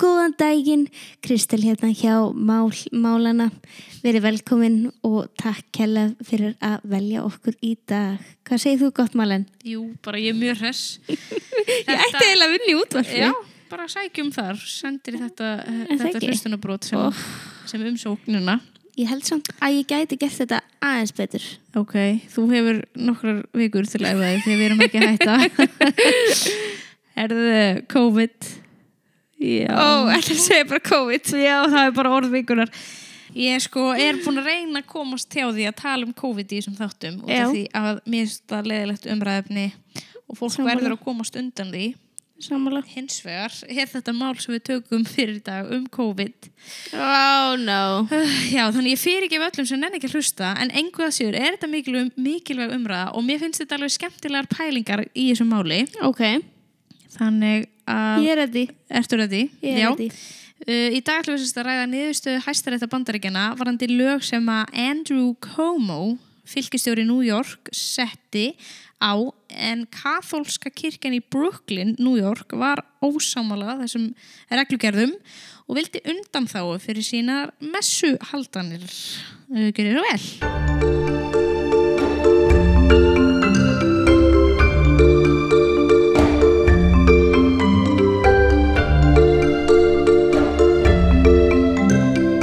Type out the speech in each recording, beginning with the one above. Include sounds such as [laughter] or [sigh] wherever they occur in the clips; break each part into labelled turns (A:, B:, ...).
A: góðan daginn, Kristel hérna hjá mál, Málana. Verið velkomin og takk kella fyrir að velja okkur í dag. Hvað segir þú gott, Málan?
B: Jú, bara ég er mjög hress.
A: Ég ætti eiginlega að vinna í útvarfi.
B: Já, bara sækjum þar, sendir í þetta, eh,
A: En það
B: þetta
A: ekki.
B: hlustunabrót sem, sem umsóknina.
A: Ég held samt að ég gæti gert þetta aðeins betur.
B: Ok, þú hefur nokkrar vikur til að æfa þig þegar við erum ekki að hætta. [laughs] er það COVID? Já.
A: ætla að segja bara COVID.
B: Já, það er bara orðvikunar. Ég sko er búin að reyna að komast hjá því að tala um COVID í þessum þáttum út
A: Já.
B: af því að mér finnst það leðilegt umræðefni og fólk
A: Sammála.
B: verður að komast undan því.
A: Sammála.
B: Hins vegar er þetta mál sem við tökum fyrir í dag um COVID.
A: Oh no.
B: Uh, já, þannig ég fyrir ekki öllum sem nenni ekki að hlusta en engu að séur er þetta mikilvæg, mikilvæg umræða og mér finnst þetta alveg skemmtilegar pælingar í þessu máli.
A: Ok,
B: Þannig að...
A: ég er ready.
B: Ertu ready?
A: Ég er
B: Já.
A: ready.
B: Uh, í dag ætlum við sem sagt að ræða niðurstöðu hæstarétta bandaríkjana varandi lög sem að Andrew Cuomo, fylgistjóri New York, setti á en katholska kirkjan í Brooklyn, New York, var ósámála þessum reglugerðum og vildi undanþáu fyrir sínar messuhaldanir. Uh, Gerir þú vel?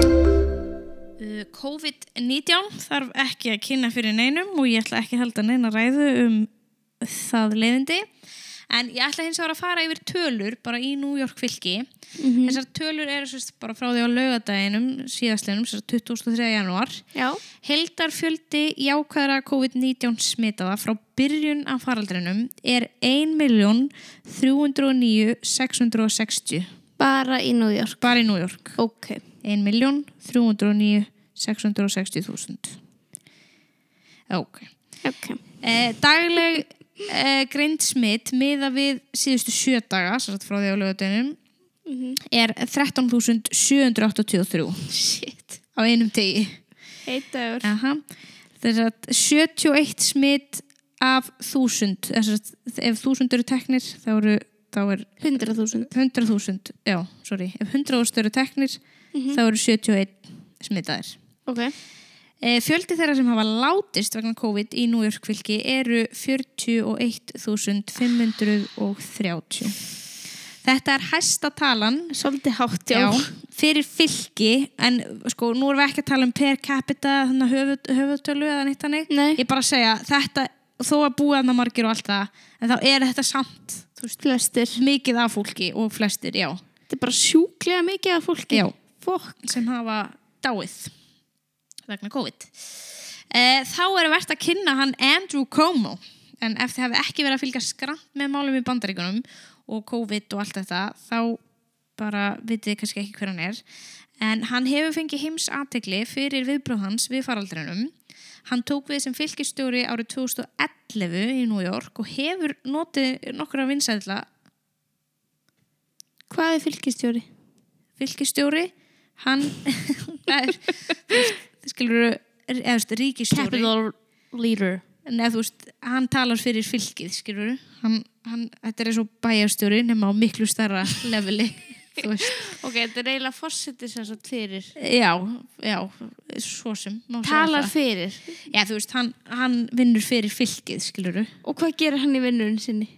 B: Uh, COVID-19 þarf ekki að kynna fyrir neinum og ég ætla ekki að halda neina ræðu um það leiðindi en ég ætla hins vegar að fara yfir tölur bara í New York fylki
A: Mhm.
B: þessar tölur eru sérst bara frá því á lögadæginum síðastlinum, sérst 2003. janúar
A: Já.
B: Heldar fjöldi jákvæðra COVID-19 smitaða frá byrjun af faraldrinum er 1.309.660
A: Bara í New York.
B: bara í New York
A: Ok.
B: 1.309.660.000 Ok
A: Ok.
B: eh, Dagleg eh, greind smitt miða við síðustu sjö daga sem sagt frá því á lögutunum er 13.783
A: Shit.
B: á einum tegi
A: Eitt dagur.
B: Aha. Þess að 71 smitt af 1000 þess að ef 1000 eru teknir þá, eru, þá er
A: 100.000.
B: 100.000 já, sorry, ef 100.000 eru teknir þá eru 71 smittaðir
A: Ok.
B: Eh, Fjöldi þeirra sem hafa látist vegna COVID í New York fylki eru 41.530. Þetta er hæsta talan
A: Svolítið hátt, já.
B: já, fyrir fylki, en sko, nú erum við ekki að tala um per capita, þannig að höfut, höfutölu eða neitt hannig.
A: Nei.
B: Ég bara að segja, þetta, þó að búa þarna margir og allt það, en þá er þetta samt
A: Flestir.
B: mikið af fólki og flestir, já,
A: Þetta er bara sjúklega mikið af fólki.
B: Já.
A: Fokk.
B: sem hafa dáið vegna COVID. Eh, Þá er verðt að kynna hann Andrew Cuomo en ef þið hafi ekki verið að fylgja skrant með málum í bandaríkunum og COVID og allt þetta þá bara vitið þið kannski ekki hver hann er en hann hefur fengið heims aðtegli fyrir viðbröð hans við faraldrinum Hann tók við sem fylgistjóri árið 2011 í New York og hefur notið nokkra vinsæðla
A: Hvað er fylgistjóri?
B: fylgistjóri hann [laughs] það er það skilur eða þú veist ríkistjóri
A: leader.
B: en eða þú veist hann talar fyrir fylgið skilur hann, hann, þetta er eins og bæjarstjóri nema á miklu starra leveli [laughs] þú veist
A: Ok, þetta er eiginlega fórsetið sem svo fyrir.
B: já, já, svo sem má segja
A: Talar
B: það.
A: fyrir.
B: já þú veist hann, hann vinnur fyrir fylgið skilur
A: Og hvað gerir hann í vinnurinn sinni?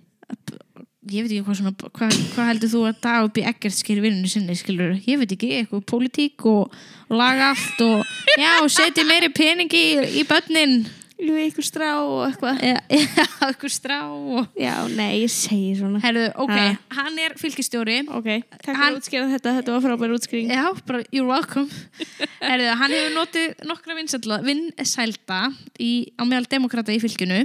B: ég veit ekki hvað svona hvað hva heldur þú að dag upp í ekkert skilur vinnunni sinni skilur ég veit ekki, eitthvað pólitík og, og laga allt og já, setja meiri peningi í, í börnin
A: Ljúi ykkur strá og eitthvað.
B: Já, [laughs] eitthvað strá og...
A: Já, nei, ég segi svona.
B: Herðu, ok,
A: Ha.
B: hann er fylgistjóri
A: Ok, takk
B: Hann-
A: fyrir að útskýra þetta. Þetta var frábær útskýring.
B: Já, bara, you're welcome
A: [laughs]
B: Herðu, hann hefur notið nokkra vinsælda, vinsælda í, á meðal demokrata í fylginu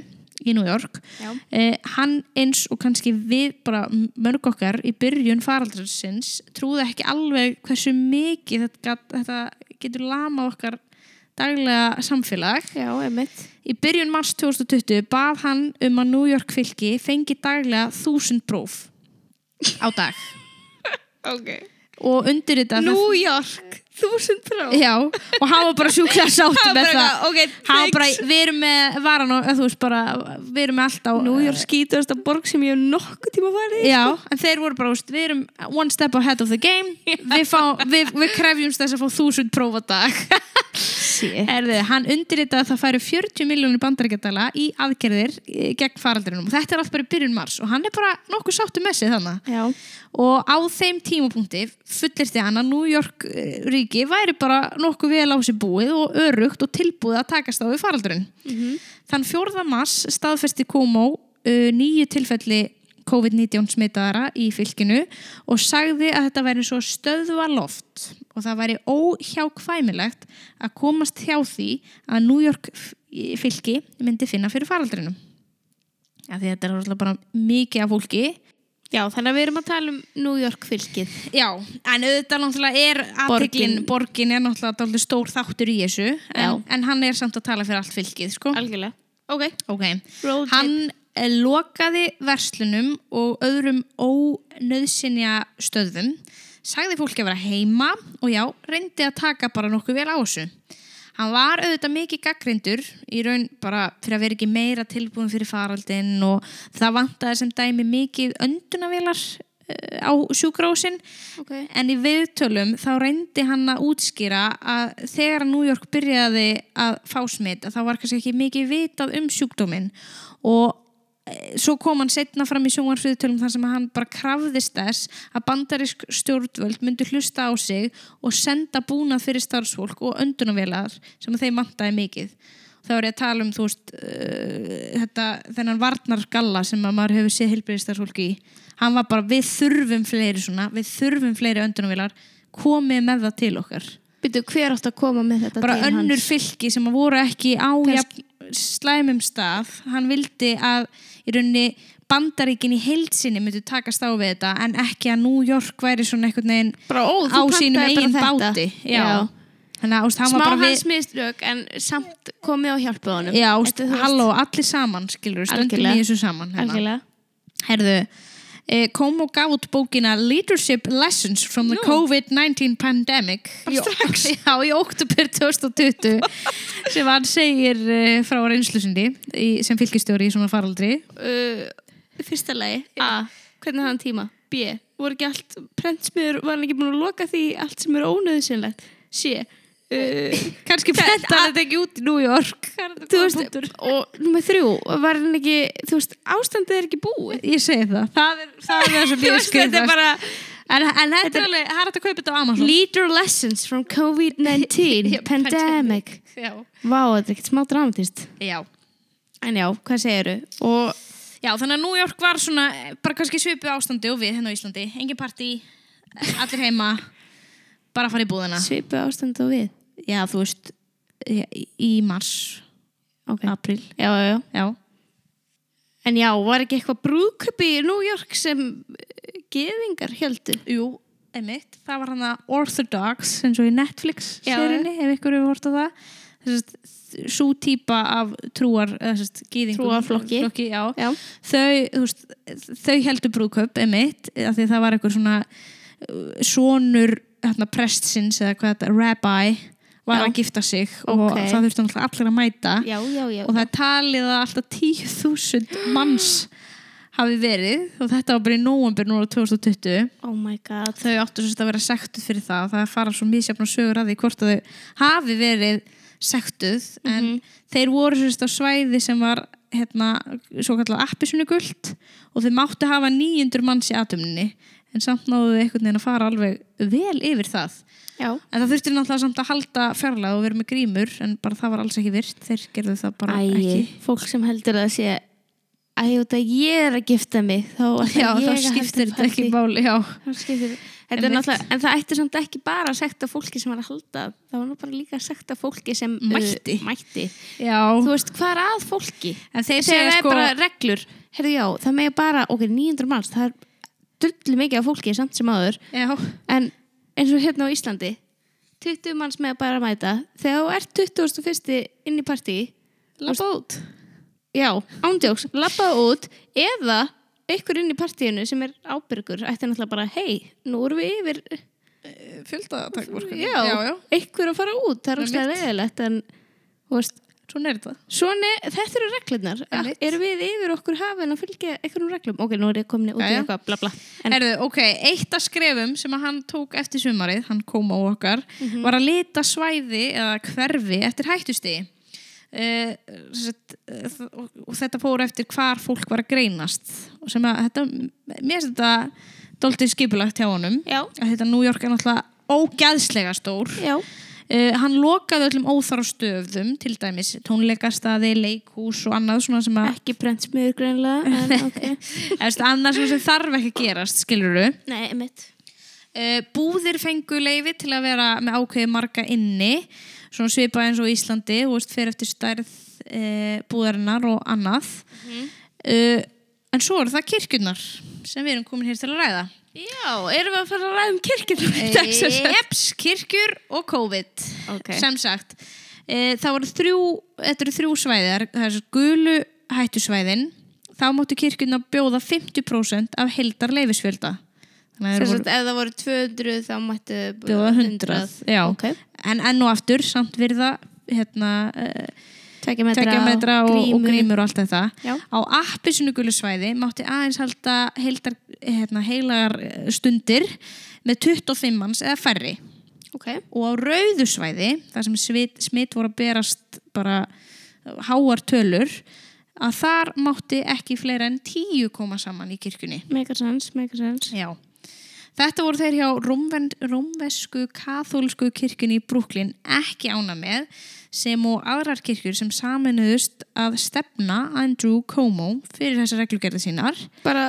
B: í New York
A: Já.
B: eh, Hann eins og kannski við bara mörg okkar í byrjun faraldrarsins trúði ekki alveg hversu mikið þetta, gat, þetta getur lamað okkar daglega samfélag
A: Já, emitt.
B: Í byrjun mars 2020 bað hann um að New York fylki fengi daglega þúsund próf á dag
A: Ok.
B: og undir þetta
A: New York. Þúsund frá
B: Já, og hann var bara
C: [laughs]
B: sjúklega sátt
C: Hann var
B: með
C: bara
B: það
C: eitthvað, "Ok,
B: Hann var bara,
C: thanks."
B: við erum með varan og þú veist bara, við erum með allt á
A: Nú ég er skítast að borg sem ég hef nokkuð tíma farið í.
B: Já, en þeir voru bara, þú veist, við erum one step ahead of the game við, fá, við, við krefjumst þess að fá þúsund prófa dag
C: [laughs]
A: Shit.
B: Erðu, hann undirritaði að það færu 40 miljónir bandarækjadala í aðgerðir eh, gegn faraldrinum og þetta er allt bara í byrjun mars og hann er bara nokkuð sáttu með sig þannig
A: Já.
B: og á þeim tímapunkti fullirti hann að New York eh, ríki væri bara nokkuð vel á sér búið og örugt og tilbúið að takast á við faraldurinn.
A: Mhm.
B: Þann 4. mars staðfesti Komo uh, nýju tilfelli COVID-19 smitaðara í fylkinu og sagði að þetta væri svo stöðva loft og það væri óhjákvæmilegt að komast hjá því að New York f- fylki myndi finna fyrir faraldrinum. Já, því þetta er náttúrulega bara mikið af fólki
A: Já, þannig að við erum að tala um New York fylkið.
B: Já, en auðvitað náttúrulega er aðteglin, borgin. er náttúrulega dálítið stór þáttur í þessu en, en hann er samt að tala fyrir allt fylkið, sko
A: [laughs] Algjörlega. Ok.
B: Ok,
A: Road trip.
B: hann eh, lokaði verslunum og öðrum ónöðsynja stöðum sagði fólki að vera heima og já, reyndi að taka bara nokkuð vel á þessu Hann var auðvitað mikið gaggrindur í raun bara fyrir að vera ekki meira tilbúin fyrir faraldin og það vantaði sem dæmi mikið öndunavélar eh, á sjúkrósin
A: Ok.
B: en í viðtölum þá reyndi hann að útskýra að þegar New York byrjaði að fá smitt að þá var kannski ekki mikið vitað um sjúkdóminn og eh, svo kom hann setna fram í sjónvarsviðtölum þar sem hann bara krafðist þess að bandarisk stjórnvöld myndi hlusta á sig og senda búnað fyrir starfsfólk og öndunavélar sem þeim mantaði mikið þá er ég að tala um þú veist uh, þetta, þennan varnargalla sem að maður hefur séð heilbyrðistarsfólk í hann var bara við þurfum fleiri svona við þurfum fleiri öndunavilar komið með það til okkar
A: Býtu, hver átt að koma með þetta
B: bara
A: til hans?
B: önnur fylki sem að voru ekki á
A: Kannski-
B: jafn slæmum stað hann vildi að í rauninni bandaríkin í heilsinni myndu takast á við þetta en ekki að New York væri svona einhvern veginn
A: Bara, ó,
B: á
A: þú pantaðir
B: sínum
A: bara
B: eigin
A: þetta.
B: báti
A: Já.
B: Þannig að, þú veist, hann
A: Smá
B: var bara við-
A: hans miðslög, en samt komið og hjálpað honum.
B: Já,
A: Þetta,
B: st-
A: þú veist,
B: halló, allir saman, skilur, stöndum
A: Algjörlega.
B: í þessu saman. hérna.
A: Algjörlega.
B: Herðu, eh, kom og gaf út bókina Leadership Lessons from the COVID-19 Pandemic. Bara strax. [laughs] Já, í oktober 2020 sem hann segir eh, frá reynslusinni í, sem fylgistjóri í svona faraldri.
A: Uh, fyrsta lagi, A. Hvernig hafði hann tíma? B. Voru ekki allt prentsmiður, var hann ekki búin að loka því allt sem er ónöðsynlegt? C.
B: [laughs]
A: Uh,
B: Kanski prentaði þetta ekki út í New York.
A: þú veist, og nummer þrjú var hann ekki, þú veist, ástandið er ekki
B: [laughs]
A: búið
B: Ég segi það. Það er það, er það sem
A: Þú
B: ég
A: veist, þetta er
B: skrifast.
A: bara
B: En, en þetta er alveg, það er hægt að kaupa þetta á Amazon.
A: Leader lessons from COVID-19 [laughs]
B: Já,
A: pandemic
B: Já.
A: Vá, þetta er ekkert smá dramatist
B: Já.
A: En já, hvað segiru? Og
B: Já, þannig að New York var svona eh, bara kannski svipu ástandi og við hérna á Íslandi engin partí, allir heima bara að fara í búðina
A: svipu ástand og við
B: Já, þú veist eh, í- í mars,
A: okay.
B: april
A: Já, já, já
B: Já,
A: En já, var ekki eitthvað brúðköp í New York sem eh, gyðingar heldur?
B: jú, emitt það var hann að Orthodox eins og í Netflix
A: Já,
B: serinni, ef ykkur hefur hort á það þessast svo típa af trúar, eða þessast gýðingum
A: Trúarflokki.
B: flokki, já.
A: Já,
B: þau, þú veist, þau heldur brúðkaup emitt, af því að það var einhver svona uh, sonur hérna, prestsins eða hvað þetta, rabbi var
A: Já.
B: að gifta sig og
A: Ókei.
B: það þurfti náttúrulega allir að mæta
A: já, já, já.
B: Ah. og það er talið að alltaf 10.000 manns hafi verið og þetta var bara í nóvambur núna 2020
A: Oh my god
B: þau áttu sérst að vera sektuð fyrir það það fara svo misjafn og sögur að því hvort að þau hafi verið sektuð en
A: Mhm.
B: þeir voru sérst á svæði sem var hérna, svo kallar appisunu guld og þau máttu hafa 900 manns í atumninni en samt náðu þau einhvern veginn að fara alveg vel yfir það
A: Já
B: en það þurfti náttúrulega samt að halda fjarlæð og vera með grímur en bara það var alls ekki virt þeir gerðu það bara
A: Æi,
B: ekki
A: fólk sem heldur að sé Æ, út að ég er að gifta mig þá ætla
B: Já,
A: ég
B: þá
A: að halda
B: skiptir þetta
A: partí.
B: ekki máli, já.
A: Þá skiptir Þetta er
B: Einmitt.
A: náttúrulega, en það ætti samt ekki bara að sekta fólki sem var að halda það var nú bara líka að sekta fólki sem uh,
B: Mm. Mætti.
A: mætti.
B: Já,
A: Þú veist, hvað er að fólki?
B: en þeir
A: Þegar
B: segja
A: það er
B: sko...
A: bara reglur Herðu já, það megi bara, ok, 900 manns það er drullu mikið af fólki samt sem áður
B: Já,
A: en eins og hérna á Íslandi 20 manns með bara að mæta þegar þú ert 21. inn í partí
B: labba út.
A: Já, ándjóks, labbaðu út eða einhver inn í partíinu sem er ábyrgur ætti náttúrulega bara, hei, nú erum við yfir
B: fjölda takmarkanir.
A: Já.
B: Sko, já, já.
A: einhver að fara út, það er
B: Einmitt.
A: óslega reyðilegt en þú veist,
B: Svona er þetta.
A: svona, þetta eru reglurnar
B: Einmitt.
A: erum við yfir okkur hafin að fylgja einhverjum reglum, ok, nú er ég komin út í
B: Jæja.
A: eitthvað, bla bla en,
B: Herðu, ok, eitt af skrefum sem að hann tók eftir sumarið, hann kom á okkar,
A: Mhm.
B: var að lita svæði eða hverfi eftir hættustigi. Uh, sett, uh, og þetta fór eftir hvar fólk var að greinast og sem að þetta, mér finnst þetta dóltið skipulagt hjá honum
A: Já.
B: að þetta New York er náttúrulega ógæðslega stór
A: já,
B: Uh, hann lokaði öllum óþarf stöðum til dæmis tónleikastaði, leikhús og annað svona sem að
A: ekki brent smjögur greinlega [laughs] en ok,
B: [laughs] Efst, annað svona sem þarf ekki að gerast, skilur du
A: nei, mitt
B: Eh, búðir fengu leifi til að vera með ákveði marga inni svona svipað eins og í Íslandi þú veist, fer eftir stærð uh, búðarinnar og annað uh, en svo eru það kirkjurnar sem við erum komin hér til að ræða Eh,
A: já, erum við að fara að ræða um kirkjum
B: Jeps, kirkjur og COVID
A: Ok.
B: sem sagt e, það voru þrjú, þetta eru þrjú svæði það eru- það er gulu hættusvæðin þá máttu kirkjuna bjóða 50% af heldar leifisfjölda þannig að það voru
A: ef það voru 200 þá mættu
B: bjóða 100 já,
A: ok,
B: en enn og aftur samt virða hérna,
A: tvekja metra,
B: tvekja metra og, og grímur og allt þetta
A: Já.
B: á appisnugulu svæði mátti aðeins halda heldar, hérna, heilagar eh, stundir með 25 manns eða færri
A: ok,
B: og á rauðu svæði þar sem smit, smit voru að berast bara eh, háar tölur að þar mátti ekki fleira en tíu koma saman í kirkjunni
A: make a sense, make a sense
B: Já. Þetta voru þeir hjá rómven, rómvesku kathólsku kirkjunni í Brooklyn ekki ána með sem og aðrar kirkjur sem saminuðust að stefna Andrew Cuomo fyrir þessar reglugerða sínar.
A: bara,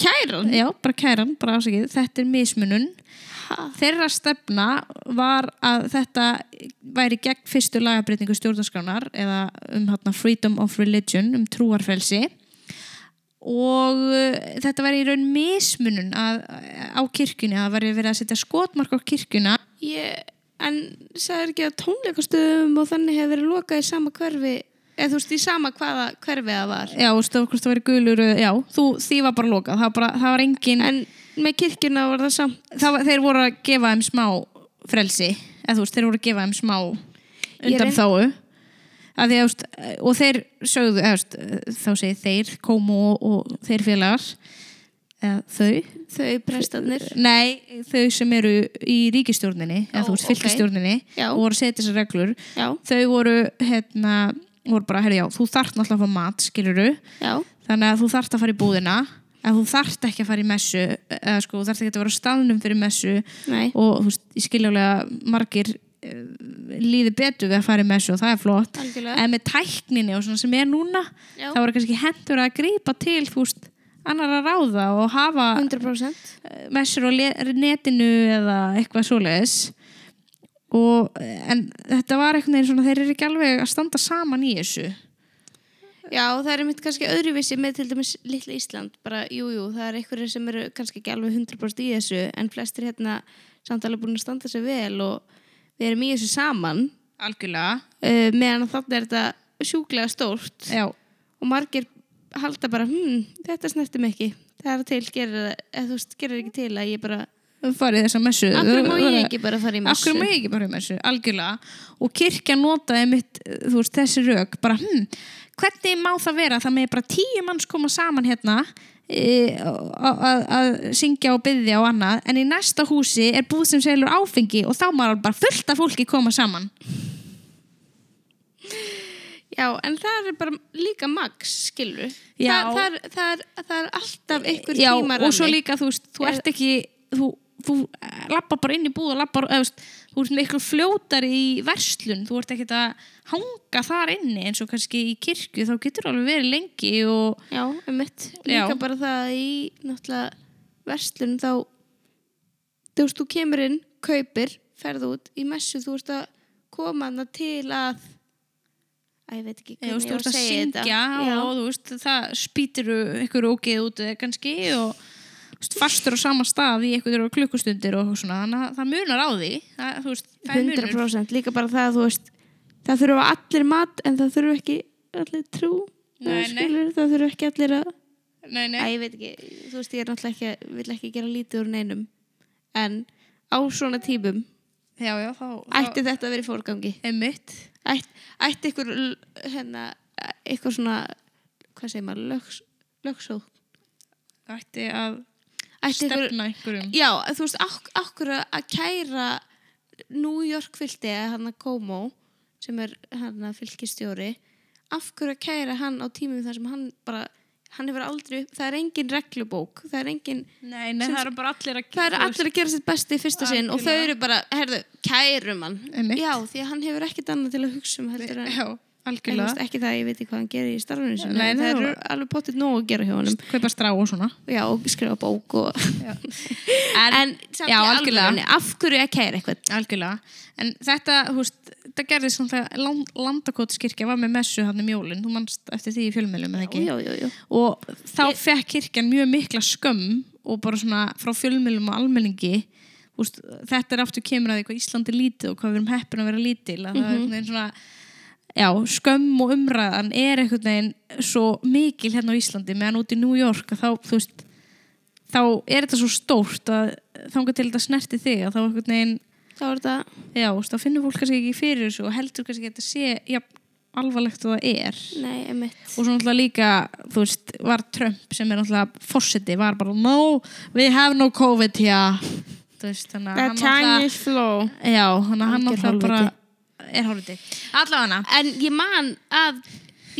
B: Kæran? Já, bara kæran, bara ásakið. Þetta er mismunun.
A: ha,
B: Þeirra stefna var að þetta væri gegn fyrstu lagabreytingu stjórnarskránar eða um hátna freedom of religion, um trúarfelsi og uh, þetta væri í raun mismunun að, á kirkjunni, að það væri verið að setja skotmark á kirkjuna
A: ég en sagður ekki að tónleikastöðum og þannig hefur verið lokað í sama hverfi eða þú veist í sama hvaða hverfi það var
B: Já, veistu, hvort það væri gulur, uh, já, þú, því var bara lokað, það var, bara, það var engin,
A: en með kirkjuna var það samt
B: það var, þeir voru að gefa þeim smá frelsi, eða þú veist, þeir voru að gefa þeim smá
A: Ég
B: undan
A: reynd-
B: þáu. Að því, eðust, og þeir sögðu, eðust, þá segir þeir, komu og, og þeir félagar, eða þau,
A: þau prestarnir
B: Nei, þau sem eru í ríkistjórninni eða
A: Ó,
B: þú veist
A: ok.
B: fylgistjórninni
A: Já.
B: og voru að setja þessar reglur
A: já,
B: þau voru, hérna, voru bara, herri já, þú þarft náttúrulega að fá mat, skiluru
A: já,
B: þannig að þú þarft að fara í búðina að þú þarft ekki að fara í messu eða sko, þú þarft ekki að vera á staðnum fyrir messu
A: nei
B: og þú veist, ég skiljulega margir eh, líði betur við að fara í messu og það er flott
A: Algjörlega.
B: en með tækninni og svona sem er núna
A: Já.
B: það voru kannski hendur að grípa til þú veist, annar að ráða og hafa
A: 100%
B: eh, messur á le- netinu eða eitthvað svoleiðis og, eh, en þetta var eitthvað neginn svona þeir eru ekki alveg að standa saman í þessu
A: Já, það er mitt kannski öðruvísi með til dæmis litla Ísland, bara jújú, jú, það er einhverjir sem eru kannski ekki alveg 100% í þessu en flestir hérna samt alveg búin að standa sér vel og við erum í þessu saman
B: algjörlega
A: uh, meðan að þarna er þetta sjúklega stórt
B: Já,
A: og margir halda bara, hm, þetta snerti mig ekki það er til, gerir það, eða þú veist, gerir ekki til að ég bara,
B: farið þessa messu
A: akkur má
B: Þú-
A: ég ekki bara fara í messu
B: Akkur má ég ekki bara um þessu, algjörlega og kirkja notaði mitt, eh, þú veist, þessi rauk bara, hm, hvernig má það vera það með bara tíu manns koma saman hérna e, að- að að syngja og byggja og annað en í næsta húsi er búð sem selur áfengi og þá maður bara fullt af fólki koma saman
A: Já, en það er bara líka max, skilur
B: Já.
A: það, það, er, það, er, það er alltaf einhver
B: Já,
A: tímarammi
B: og svo líka, þú veist, þú ert ekki þú, þú lappar bara inn í búð og lappar, eða, þú veist, þú ert miklu fljótar í verslun, þú ert ekki að hanga þar inni eins og kannski í kirkju, þá getur alveg verið lengi og
A: Já, um mitt.
B: Já.
A: Líka bara það að í náttúrulega verslun þá þú veist, þú kemur inn, kaupir, ferð út í messu, þú ert að koma hana til að Æ, ég veit ekki
B: Eða, þú veist,
A: hvernig ég á
B: þú ert
A: að
B: að
A: segja þetta.
B: syngja
A: Já,
B: og þú veist, það spýtir ykkur ógeð út eða kannski og þú veist, fastur á sama stað í ykkur klukkustundir og svona, þannig að það munar á því það, þú veist, það er munur
A: 100% líka bara það að þú veist það þurfa allir mat en það þurfa ekki allir trú
B: Nei,
A: eða
B: nei.
A: skilur, það þurfa ekki allir að
B: nei,
A: Æ,
B: nei,
A: ég veit ekki, þú veist, ég er náttúrulega ekki vil ekki gera lítið úr neinum en á svona típum
B: já, já, þá,
A: ætti þetta að vera í fórgangi
B: þá er mitt
A: ætti, ætti ykkur l- hérna, ykkur svona hvað segir maður, lögs, lögsók
B: ætti að
A: ætti ykkur,
B: stefna einhverjum
A: já, þú veist ak, akkur að kæra New York fylgdi eða hann að Komo sem er hann að fylgistjóri af hverju að kæra hann á tímum þar sem hann bara hann hefur aldrei, það er engin reglubók það er engin,
B: nei, nei,
A: Sem-
B: það eru bara allir að
A: það er allir að gera sitt besti í fyrsta sinn og þau
B: Algjörlega.
A: eru bara, herðu, kærum hann
B: Einmitt.
A: já, því að hann hefur ekkit annað til að hugsa um heldur en
B: já,
A: En þú
B: algjörlega
A: veist ekki það að ég veit ekki hvað hann gerir í starfinu sinu
B: Nei,
A: en
B: nei,
A: það eru
B: og-
A: alveg potið nóg að gera hjá honum
B: kaupa strá og svona
A: Já, og skrifa bók og...
B: [laughs] en,
A: En samt í
B: já, algjörlega.
A: alvörunni, af hverju að kæra eitthvað
B: algjörlega en þetta, þú veist, þetta gerði svona land, landakotskirkja var með messu hann um jólin, þú mannst eftir því í fjölmjölum eða ekki
A: Jú, jú, jú.
B: og þá fekk kirkjan mjög mikla skömm og bara svona frá fjölmjölum og almenningi Úst, þetta er aftur kemur að því hvað Ísland er lítið og hvað við erum heppin að vera lítil að það er einhvern veginn svona já, skömm og umræðan er einhvern veginn svo mikil hérna á Íslandi meðan út í New York að þá, þú veist þá er þetta svo stórt að þanga til þetta snerti þig að þá einhvern veginn
A: Þá er þetta,
B: já, þú veist, þá finnur fólk kannski ekki fyrir þessu og heldur kannski ekki að þetta sé já, alvarlegt og það er
A: nei, emitt
B: og svo náttúrulega líka, þú veist, var Trump sem er náttúrulega fórseti, var bara no, we have no COVID here þú veist, þannig að hann náttúrulega
A: flow
B: já, þannig að hann
A: Algjör
B: náttúrulega bara er hálfviti, allavega
A: En ég man að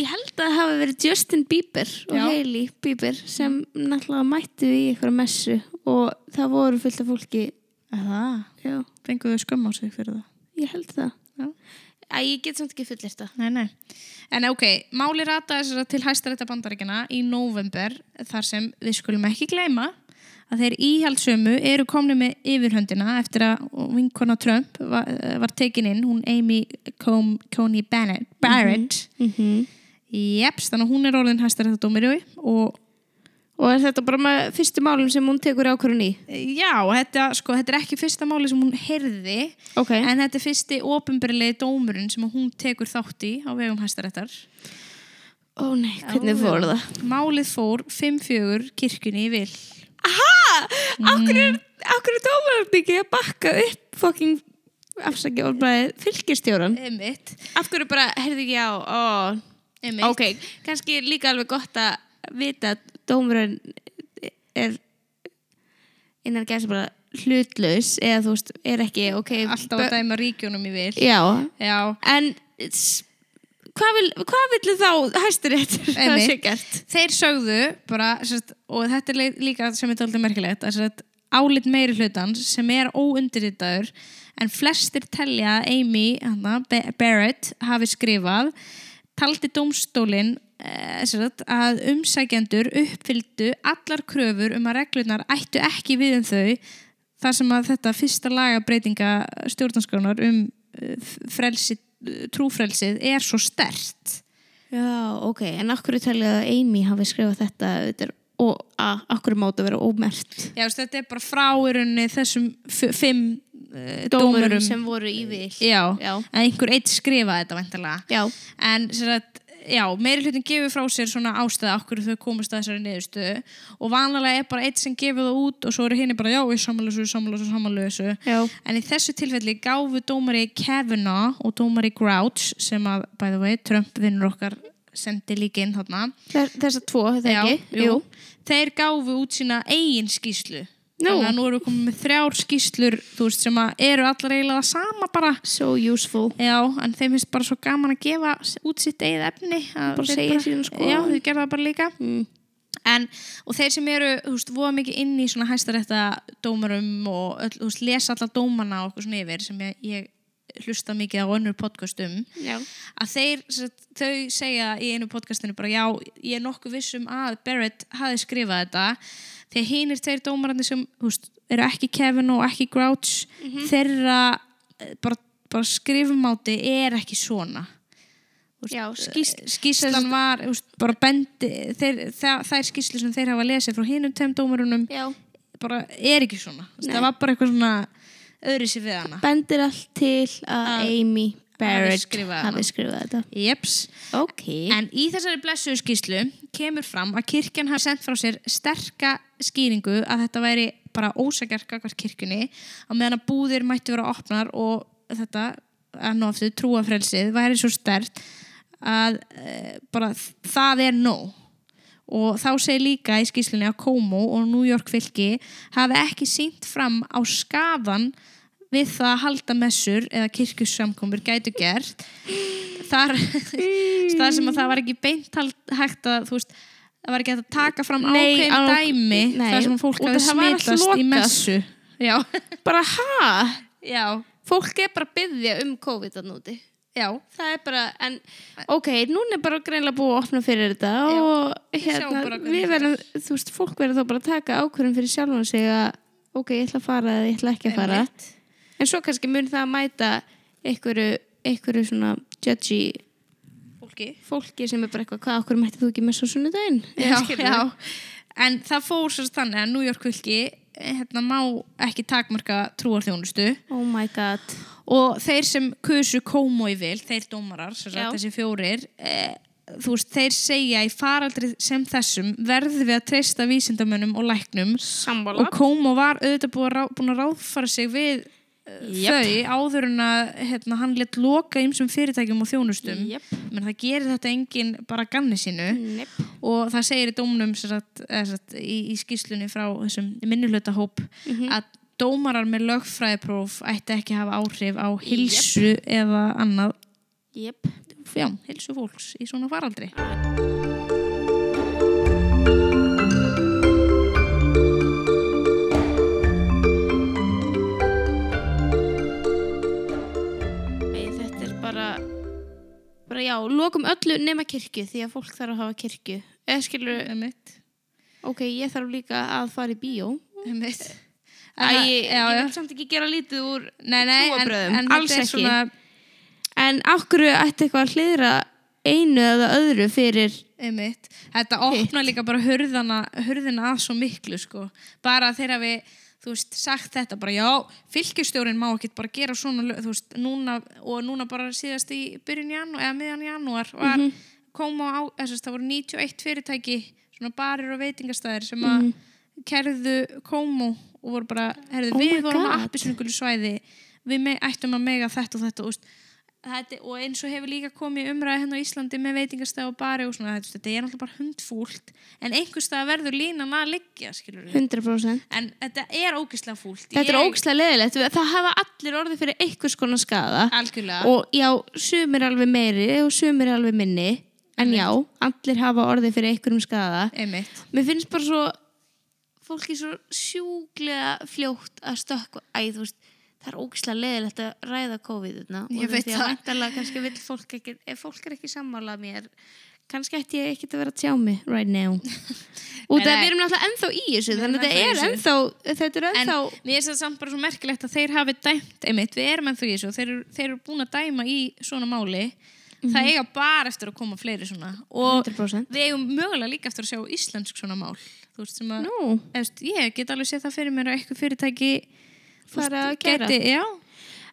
A: ég held að það hafi verið Justin Bieber og
B: Já.
A: Hailey Bieber sem náttúrulega mættu í eitthvað messu og það voru fullt af fólki
B: það,
A: Já,
B: fenguðu skömm á sig fyrir það
A: ég held það
B: Já.
A: Æ, ég get samt ekki fullir þetta
B: Nei, nei. En ok, máli rata þess að til hæstarétta bandaríkjana í november þar sem við skulum ekki gleyma að þeir íhaldsömu eru komni með yfirhöndina eftir að vinkona Trump var, var tekin inn, hún Amy Com Coney Bennett, Barrett.
A: mm -hmm.
B: Jeps, þannig að hún er orðin hæstarétta dómiri og
A: Og er þetta bara með fyrstu málum sem hún tekur ákvörðun í?
B: já, þetta, sko, þetta er ekki fyrsta máli sem hún heyrði
A: Ok.
B: en þetta er fyrsti ofinbyrlegi dómurinn sem hún tekur þátt í á vegum hæstaréttar.
A: Ó nei, hvernig fór það?
B: Málið fór 5-4 kirkjunni í vil. Mm.
A: Akkur er dómarandi ekki að bakka upp fucking afsakja orðbræði fylgistjóran?
B: Emmitt.
A: Af hverju bara, heyrðu ekki á, ó,
B: Emmitt.
A: ok, kannski er líka alveg gott að vita að dómurinn er innan gæsa bara hlutlaus eða þú veist, er ekki, ok,
B: Alltaf að dæma ríkjónum í vil.
A: Já,
B: Já.
A: en s- hvað vil, hvað villu þá hæstiréttur það
B: Einmitt.
A: sé gert?
B: Þeir sögðu bara, sérst, og þetta er lei- líka sem er dálítið merkilegt, að sérst, álit meiri hlutans sem er óundirritaður en flestir telja að Amy hana, Be- Barrett hafi skrifað taldi dómstólin eh, sérst, að umsækjendur uppfyldu allar kröfur um að reglurnar ættu ekki við um þau þar sem að þetta fyrsta lagabreitinga stjórnarskránar um eh, f- frelsi, trúfrelsið er svo stert
A: Já, ok, en akkur talið að Amy hafi skrifað þetta auðvitað, er- og að akkur máta vera ómert
B: Já, veist, þetta er bara fráurunni þessum f- fimm uh, dómurum,
A: dómurum sem voru í vil
B: já,
A: Já.
B: en einhver eitt skrifaði þetta vantarlega
A: Já,
B: en sem sagt, já, meiri hlutin gefur frá sér svona ástæða okkur þau komast að þessari niðurstöðu og vanlega er bara eitt sem gefur það út og svo eru henni bara já, ég sammála þessu, sammála þessu, sammála þessu
A: já,
B: en í þessu tilfelli gáfu dómari Kavanaugh og dómari Grouch sem að, by the way, Trump vinnur okkar sendi líka inn þarna
A: þessar tvo, þetta
B: Já,
A: ekki
B: jú. Þeir gáfu út sína eigin skýslu
A: Nú.
B: Þannig að nú eru komið með þrjár skýslur þú veist, sem að eru allar eiginlega það sama bara
A: So useful
B: Já, en þeim finnst bara svo gaman að gefa s- út sitt eigið efni að
A: Bara
B: þeir
A: segja sína skoðun.
B: Já, þeir gerða það bara líka
A: mm.
B: en, og þeir sem eru, þú veist, voða mikið inn í svona hæstarétta dómarum og öll, þú veist, lesa alla dómana og okkur svona yfir sem ég, ég hlusta mikið á önnur podcast um
A: Já,
B: að þeir, sem sagt, þau segja í einu podcastinu bara já, ég er nokkuð viss um að Barrett hafi skrifað þetta þegar hinir þeir dómarandi sem húst, eru ekki Kevin og ekki Grouch þeirra eh, bara, bara skrifmáti er ekki svona
A: já skýst
B: skýslan var húst, bara bendi þeir, það, þær skýslu sem þeir hafa lesið frá hinum tveim dómarunum
A: Já,
B: bara er ekki svona, Þú veist, það var bara eitthvað svona öðri sér við hana
A: bendir allt til að Amy Barrett
B: skrifað hana.
A: hafi skrifað þetta
B: Jeps.
A: Ok
B: En í þessari blessuðu skýslu kemur fram að kirkjan hafi sendt frá sér sterka skýringu að þetta væri bara ósakjarka hver kirkjunni á meðan að búðir mættu vera opnar og þetta, enn og aftur, trúafrelsið væri svo stert að e, bara þ- það er nóg og þá segir líka í skýslinni að Komo og New York fylki hafi ekki sínt fram á skaðan við það að halda messur eða kirkjussamkomur gætu gert þar, [laughs] þar sem að það var ekki beint hald- hægt að þú veist það var ekki hægt að taka fram
A: Nei,
B: ákveðin
A: á-
B: dæmi
A: nei,
B: þar sem fólk
A: út af
B: hafi
A: það var allt
B: smitast í
A: lokað.
B: messu já,
A: Bara hæ?
B: já,
A: Fólk er bara að byggja um COVID að núti.
B: já
A: Það er bara, en ok, núna er bara greinlega búið að opna fyrir þetta
B: Já,
A: og
B: sjáum
A: hérna,
B: bara hvernig
A: við
B: fer.
A: verðum, þú veist, fólk verður þá bara að taka ákvörðum fyrir sjálfan sig að ok, ég ætla að fara eða ég ætla ekki að fara.
B: Einmitt.
A: En svo kannski mun það að mæta einhverju, einhverju svona judgy
B: fólki
A: fólki sem er bara eitthvað, hvað okkur mætti þú ekki með svo sunnudaginn? [laughs]
B: já, já. en það fór svo þannig að New York fylki hérna, má ekki takmarka trúarþjónustu
A: Oh my god.
B: og þeir sem kusu Komo í vil, þeir dómarar sem sagt,
A: Já.
B: þessi fjórir e, þú veist, þeir segja í faraldri sem þessum verðum við að treysta vísindamönnum og læknum
A: Sammála.
B: og Komo var auðvitað búin að, rá, búin að ráðfara sig við
A: Jep.
B: yep. þau áður en að hérna, hann létt loka ymsum fyrirtækjum og þjónustum
A: Jep.
B: menn það gerir þetta enginn bara að ganni sínu
A: Nepp.
B: og það segir í dómnum sem sagt, eða sem sagt, í, í skýslunni frá þessum minnulötahóp
A: Mhm.
B: að dómarar með lögfræðipróf ætti ekki að hafa áhrif á hilsu eða annað
A: Jep.
B: já, hilsu fólks í svona faraldri
A: Nei, þetta er bara bara já, lokum öllu nema kirkju því að fólk þarf að hafa kirkju eða skilur,
B: Einmitt.
A: ok, ég þarf líka að fara í bíó
B: Einmitt.
A: Æ,
B: En það-
A: ég,
B: já,
A: ég
B: já.
A: vil samt ekki gera lítið úr
B: Nei, nei, en,
A: trúarbrögðum,
B: en þetta
A: alls
B: er
A: ekki.
B: svona,
A: en okkur ætti eitthvað að hliðra einu eða öðru fyrir
B: einmitt, þetta opna líka bara hurðana, hurðina að svo miklu sko. bara þegar við þú veist, sagt þetta bara, já, fylgjastjórin má ekkert bara gera svona, lög, þú veist, núna og núna bara síðast í byrjun janúar eða miðan janúar var mm -hmm. koma á, þess að það voru 91 fyrirtæki svona barir og veitingastæðir sem
A: Mhm.
B: að
A: Mm.
B: kerðu komu og voru bara, herðu,
A: Oh my
B: við vorum
A: God.
B: að appisungulu svæði, við me, ættum að mega þetta og þetta, þú veist, þetta, og eins og hefur líka komið í umræði hérna á Íslandi með veitingastæð og bari og svona, þetta, þetta er náttúrulega bara hundfúlt, en einhvers það verður línan að liggja, skilur
A: 100%
B: En þetta er ógislega fúlt.
A: þetta er ógislega leðilegt, það hafa allir orðið fyrir einhvers konar skaða
B: Algjörlega.
A: og já, sumir alveg meiri og sumir alveg minni en já, allir hafa orðið fyrir einhverjum skaða
B: Einmitt.
A: Mér finnst bara svo fólki svo sjúklega fljótt að stökkva æ, þú veist, það er ógislega leðilegt að ræða COVID-una
B: Ég veit það.
A: Væntalega, kannski vill fólk ekki, ef fólk er ekki sammála mér, kannski ætti ég ekki að vera að tjá mig right
B: [laughs]
A: now Út af að
B: Nei, nei.
A: við erum náttúrulega ennþá í þessu
B: Við erum
A: þannig að þetta er
B: ennþá í
A: ennþá, þetta er
B: En
A: ennþá
B: mér finnst það samt bara svo merkilegt að þeir hafi dæmt, einmitt, við erum ennþá í þessu og þeir, eru- þeir eru búin að dæma í svona máli.
A: Mhm.
B: Það eiga bara eftir að koma fleiri svona. Og
A: 100%
B: við eigum mögulega líka eftir að sjá íslensk svona mál. Þú veist sem að,
A: Nú,
B: eftir, ég get alveg séð það fyrir mér að eitthvað fyrirtæki þú
A: fara að
B: veist,
A: gera
B: gæti- já,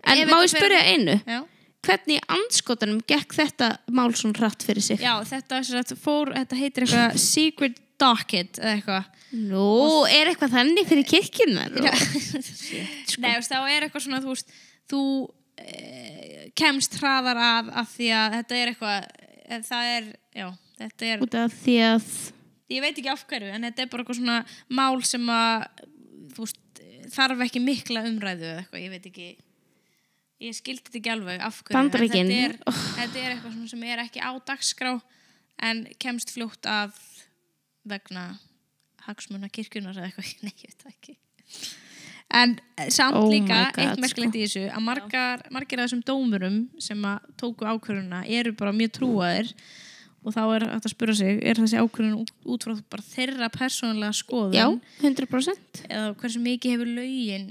A: En
B: Ef
A: má
B: þetta
A: ég spyrja einu,
B: já.
A: hvernig í andskotanum gekk þetta mál svona hratt fyrir sig?
B: já, þetta, sem sagt fór, þetta heitir eitthvað Secret Docket eða eitthvað.
A: Nú, er eitthvað þannig fyrir kirkjunar?
B: Já.
A: Shit, sko.
B: Nei, þú veist, þá er eitthvað svona, þú veist, þú e, kemst hraðar að af því að þetta er eitthvað, e, það er, já, þetta er,
A: út af því að
B: ég veit ekki af hverju, en þetta er bara eitthvað svona mál sem að, þú veist, þarf ekki mikla umræðu eða eitthvað, ég veit ekki, ég skildi þetta ekki alveg af hverju. en
A: Bandaríkin. Oh.
B: Þetta er, þetta er eitthvað svona sem er ekki á dagskrá, en kemst fljótt af vegna hagsmuna kirkjunar eða eitthvað, [laughs] nei, ég veit það ekki. En eh, samt
A: Oh my
B: líka,
A: God, sko.
B: eitt merkilegt í þessu, að margar, margir af þessum dómurum sem að tóku ákvörðuna eru bara mjög trúaðir og þá er hægt að spura sig, er þessi ákvörðun út- út frá bara þeirra persónulega skoðun
A: já, 100%
B: eða hversu mikið hefur lögin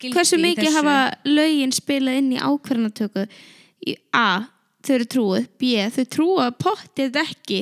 B: gildi
A: hversu
B: í
A: mikið
B: þessu?
A: hafa lögin spilað inn í ákvarðanatöku Í A, þau eru trúið B, þau trúa pottið ekki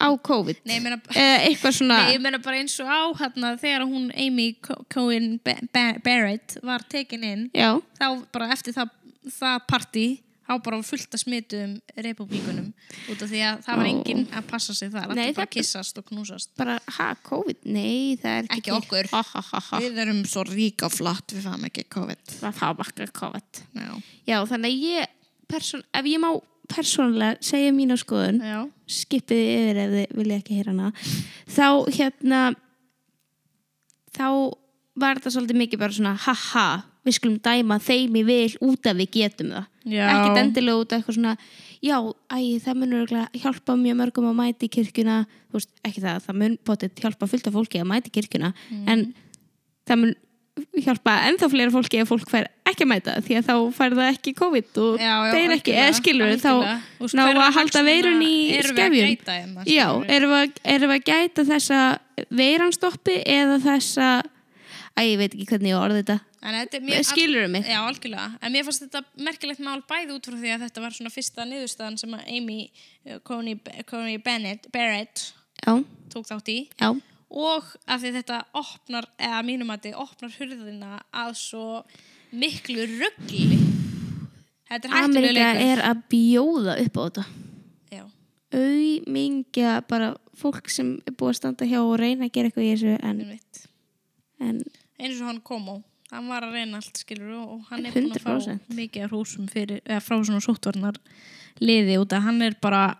A: á COVID
B: Nei, ég meina,
A: eða eitthvað svona
B: nei, ég meina bara eins og á hérna, þegar hún Amy Co- Cohen Ba- Ba- Barrett var tekin inn
A: já,
B: þá bara eftir það, það partí þá á bara fullt að smitum republikunum út af því að það var
A: Ó.
B: enginn að passa sig
A: Nei,
B: það, allir bara
A: það-
B: kissast og knúsast
A: bara, ha, COVID, nei, það er
B: Ekki
A: ekki til.
B: okkur.
A: ha, ha, ha, ha.
B: Við erum svo rík og flott, við fáum ekki COVID
A: það fá bakka COVID
B: Já,
A: já, þannig að ég, person, ef ég má persónulega segja mína skoðun
B: já,
A: skipið þið yfir ef þið vilja ekki heyra hana þá hérna þá var þetta svolítið mikið bara svona haha, við skulum dæma þeim í vil út af við getum það
B: Já.
A: ekkert endilega út af eitthvað svona já, æ, það mun örugglega hjálpa mjög mörgum að mæti kirkjuna þú veist, ekki það, það mun potið hjálpa fullt af fólki að mæti kirkjuna
B: Mm.
A: en það mun hjálpa ennþá fleira fólki ef fólk fær ekki að mæta því að þá fær það ekki COVID og
B: já, já
A: deyr ekki, eða skilur þá ná að halda veirun í skefjum
B: hérna,
A: Já, e- erum við, að- erum við að gæta þessa veiranstoppi eða þessa Æ, ég veit ekki hvernig ég á orðið þetta
B: er
A: Skilurðu mig?
B: Já, algjörlega. En mér fannst þetta merkilegt mál bæði út frá því að þetta var svona fyrsta niðurstaðan sem að Amy eh, Coney, Coney Bennett, Barrett
A: Já,
B: tók þátt í
A: já,
B: og að því þetta opnar, eða mínum að þetta opnar hurðina að svo miklu ruggli. Þetta er hættulega
A: Amerika er
B: leikur.
A: að bjóða upp á þetta
B: Já,
A: auðmingja bara fólk sem er búið að standa hjá og reyna að gera eitthvað í þessu en,
B: einmitt.
A: en
B: Eins og hann kom á. Hann var að reyna allt, skilur, og og hann er búin að fá
A: 100%.
B: mikið af hrósum fyrir, eða frá svona sóttvarnar liði út að hann er bara að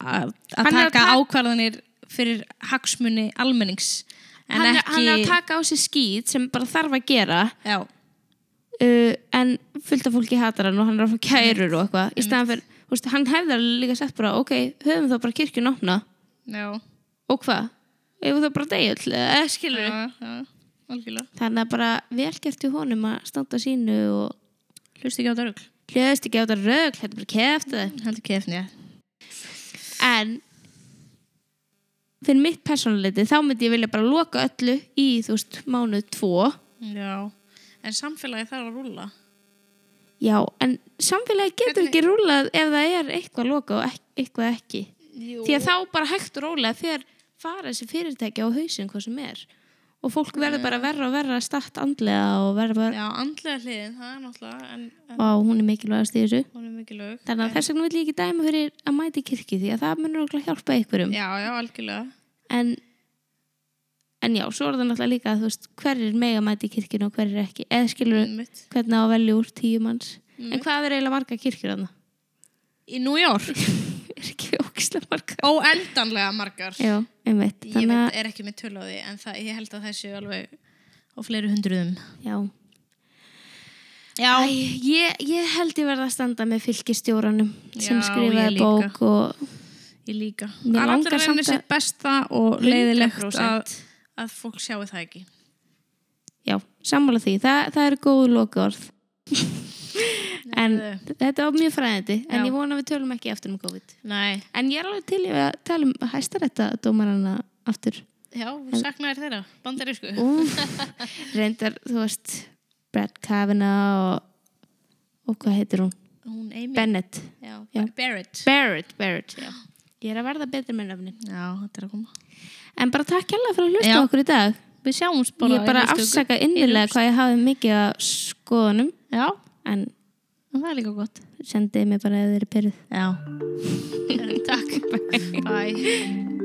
B: að
A: Hann er
B: taka
A: að ta-
B: ákvarðanir fyrir hagsmuni almennings en
A: hann, er-
B: ekki...
A: hann er að taka á sig skýt sem bara þarf að gera
B: Já,
A: uh, en fullt af fólki hatar hann og hann er að fá kærur og eitthvað í staðan fyrir, þú veist, hann hefði alveg líka sett bara ok, höfum þá bara kirkjun opna
B: já,
A: og hvað, hefur það bara degjul eða skilur
B: já, já, algjörlega.
A: þannig að bara velgertu honum að standa sínu og
B: Hlusti ekki á dörgl.
A: hljóðist ekki á þetta rögl þetta er bara kefti
B: Heldur kefni, já.
A: en fyrir mitt persónuleiti þá myndi ég vilja bara loka öllu í þú veist mánuð tvo
B: Já, en samfélagi þarf að rúla.
A: já, en samfélagi getur
B: Hvernig-
A: ekki rúlað ef það er eitthvað loka og ek eitthvað ekki
B: Jú.
A: því að þá bara hægt og rólega þegar fara þessi fyrirtæki á hausinn hvað sem er og fólk verður bara verra og verra að starta andlega og verður bara
B: Já, andlega hliðin, það er náttúrulega, en, en
A: og hún er mikilvægast í þessu
B: hún er mikið lög.
A: þannig að þess vegna vil ég ekki dæma fyrir að mæti kirkju því að það munur okkur að hjálpa ykkurum
B: Já, já, algjörlega.
A: en, en já, svo er það náttúrulega líka að þú veist hverjir mega mæti kirkjun og hverjir ekki eða skilur
B: Einmitt.
A: hvernig á að velja úr tíu manns
B: Mm.
A: en hvað er eiginlega marga kirkjur
B: [laughs]
A: þarna?
B: Í New York.
A: er ekki ógislega marga
B: óendanlega margar
A: já, einmitt
B: ég
A: þannig
B: veit,
A: að,
B: er ekki með tölu á því en það, ég held að það séu alveg á fleiri hundruðum
A: já
B: já,
A: Æ, ég, ég held ég verða að standa með fylgistjóranum sem
B: Já, ég
A: skrifaði
B: líka.
A: bók og
B: ég líka
A: Mér
B: það er allir
A: langar
B: að
A: samt
B: reyna
A: að-
B: sitt besta og leiðilegt
A: 100%.
B: að, að fólk sjáu það ekki
A: já, sammála því, Þa, það eru góð
B: [laughs]
A: lokaorð en þetta var mjög fræðandi en
B: Já.
A: ég vona að við tölum ekki aftur um COVID
B: nei,
A: en ég er alveg til í að tala um hæstarætta dómarana aftur
B: já, saknaðir þeirra bandarísku [laughs]
A: Úf, reyndar, þú veist Brad Kavanaugh og, og hvað heitir hún?
B: hún Amy
A: Bennett
B: já,
A: Já.
B: Barrett
A: Barrett, Barrett, já Ég er að verða betri með nöfni
B: já, þetta er að koma
A: En bara takk hella fyrir að hlusta
B: Já.
A: okkur í dag
B: við sjáumst bara
A: Ég bara
B: í næstu viku.
A: afsaka innilega hvað ég hafi mikið að skoðunum
B: já,
A: en
B: og það er líka gott [laughs]
A: sendiði mér bara eða þeir eru perið
B: já, takk bye